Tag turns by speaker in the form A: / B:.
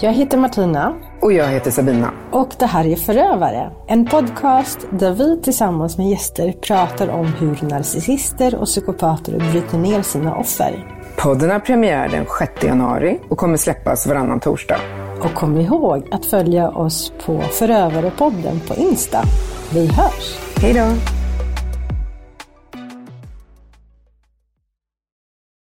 A: Jag heter Martina
B: Och jag heter Sabina.
A: och det här är Förövare. En podcast där vi tillsammans med gäster pratar om hur narcissister och psykopater bryter ner sina offer.
B: Podden har premiär den 6 januari och kommer släppas varannan torsdag.
A: Och kom ihåg att följa oss på Förövarepodden på Insta. Vi hörs!
B: Hej då!